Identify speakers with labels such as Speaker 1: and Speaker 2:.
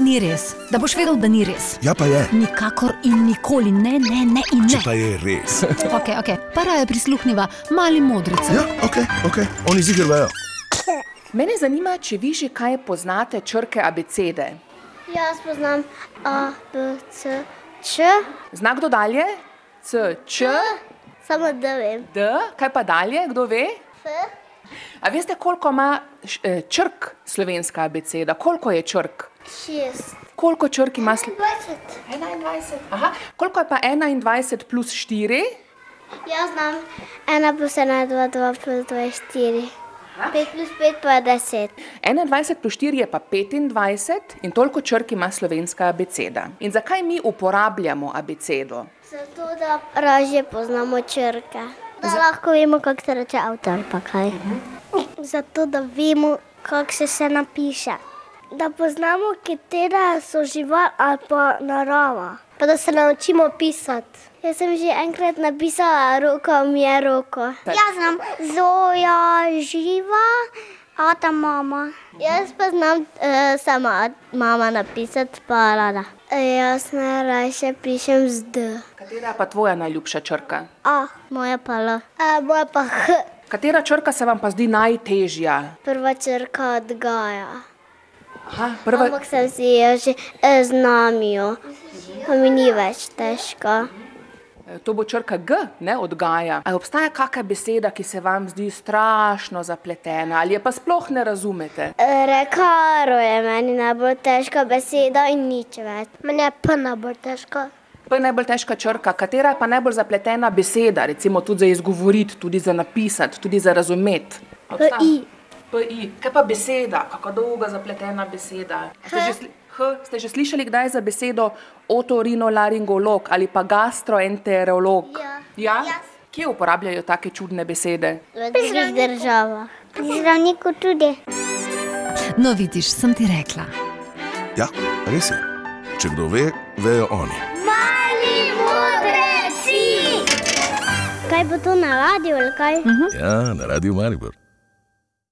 Speaker 1: ni res, da boš vedel, da ni res.
Speaker 2: Ja, pa je.
Speaker 1: Nikakor in nikoli ne, ne, ne in
Speaker 2: Če
Speaker 1: ne.
Speaker 2: pa je res.
Speaker 1: Okay, okay. Para je prisluhnila mali modrici.
Speaker 2: Ja, ok, ok, oni zigrajo.
Speaker 3: Mene zanima, če vi že kaj poznate črke abecede.
Speaker 4: Jaz poznam A, B, C, Č,
Speaker 3: Znak do dalje, C, Č,
Speaker 4: samo da vem.
Speaker 3: D, kaj pa dalje, kdo ve?
Speaker 4: F,
Speaker 3: A veste, koliko ima š- eh, črk slovenska abeceda? Koliko je črk?
Speaker 4: šest,
Speaker 3: Koliko črk ima slovenska?
Speaker 4: dvajset.
Speaker 3: 21. Aha, koliko je pa 21 plus 4?
Speaker 4: Jaz znam ena plus ena, dva, dva plus dva, štiri. Pet plus pet pa je deset.
Speaker 3: 21 plus 4 je pa 25 in toliko črk ima slovenska abeceda. In zakaj mi uporabljamo abecedo?
Speaker 4: Zato, da lažje poznamo črke. Da lahko vemo, kako se reče avto ali pa kaj. Zato, da vemo, kako se še napiše. Da poznamo, katera so žival ali pa narava. Pa da se naučimo pisati. Jaz sem že enkrat napisala, roko mi je roko. Jaz znam zoja, živa, a ta mama. Jaz pa znam eh, sama mama napisati, pa rada. E, Jaz najraje pišem z D.
Speaker 3: Katera je pa tvoja najljubša črka?
Speaker 4: A, moja pa L. A, moja pa H.
Speaker 3: Katera črka se vam pa zdi najtežja?
Speaker 4: Prva črka odgaja.
Speaker 3: Aha,
Speaker 4: Prva...
Speaker 3: prva,
Speaker 4: Ampak sem si jo že eh, znamijo, pa mi ni več težko.
Speaker 3: eh, to bo črka G, ne odgaja. Ali obstaja kakšna beseda, ki se vam zdi strašno zapletena ali je pa sploh ne razumete?
Speaker 4: Eh, Rekaro je meni najbolj težka beseda in nič več. Meni je pa najbolj težko.
Speaker 3: Pa je najbolj težka črka, katera je pa najbolj zapletena beseda, recimo tudi za izgovoriti, tudi za napisati, tudi za razumeti. Obstaja?
Speaker 4: PI.
Speaker 3: PI. Kaj pa beseda, kako dolga zapletena beseda? Ste že, sli- H, ste že slišali kdaj za besedo otorinolaringolog ali pa gastroenterolog?
Speaker 4: Ja.
Speaker 3: ja?
Speaker 4: Jaz.
Speaker 3: Kje uporabljajo take čudne besede?
Speaker 4: V drugih državah. Pri zdravniku tudi.
Speaker 1: No, vidiš, sem ti rekla.
Speaker 2: Ja, res je. Če kdo ve, vejo oni.
Speaker 4: Mali modreci! Kaj bo to na radiju ali kaj?
Speaker 2: Ja, na radiju Maribor.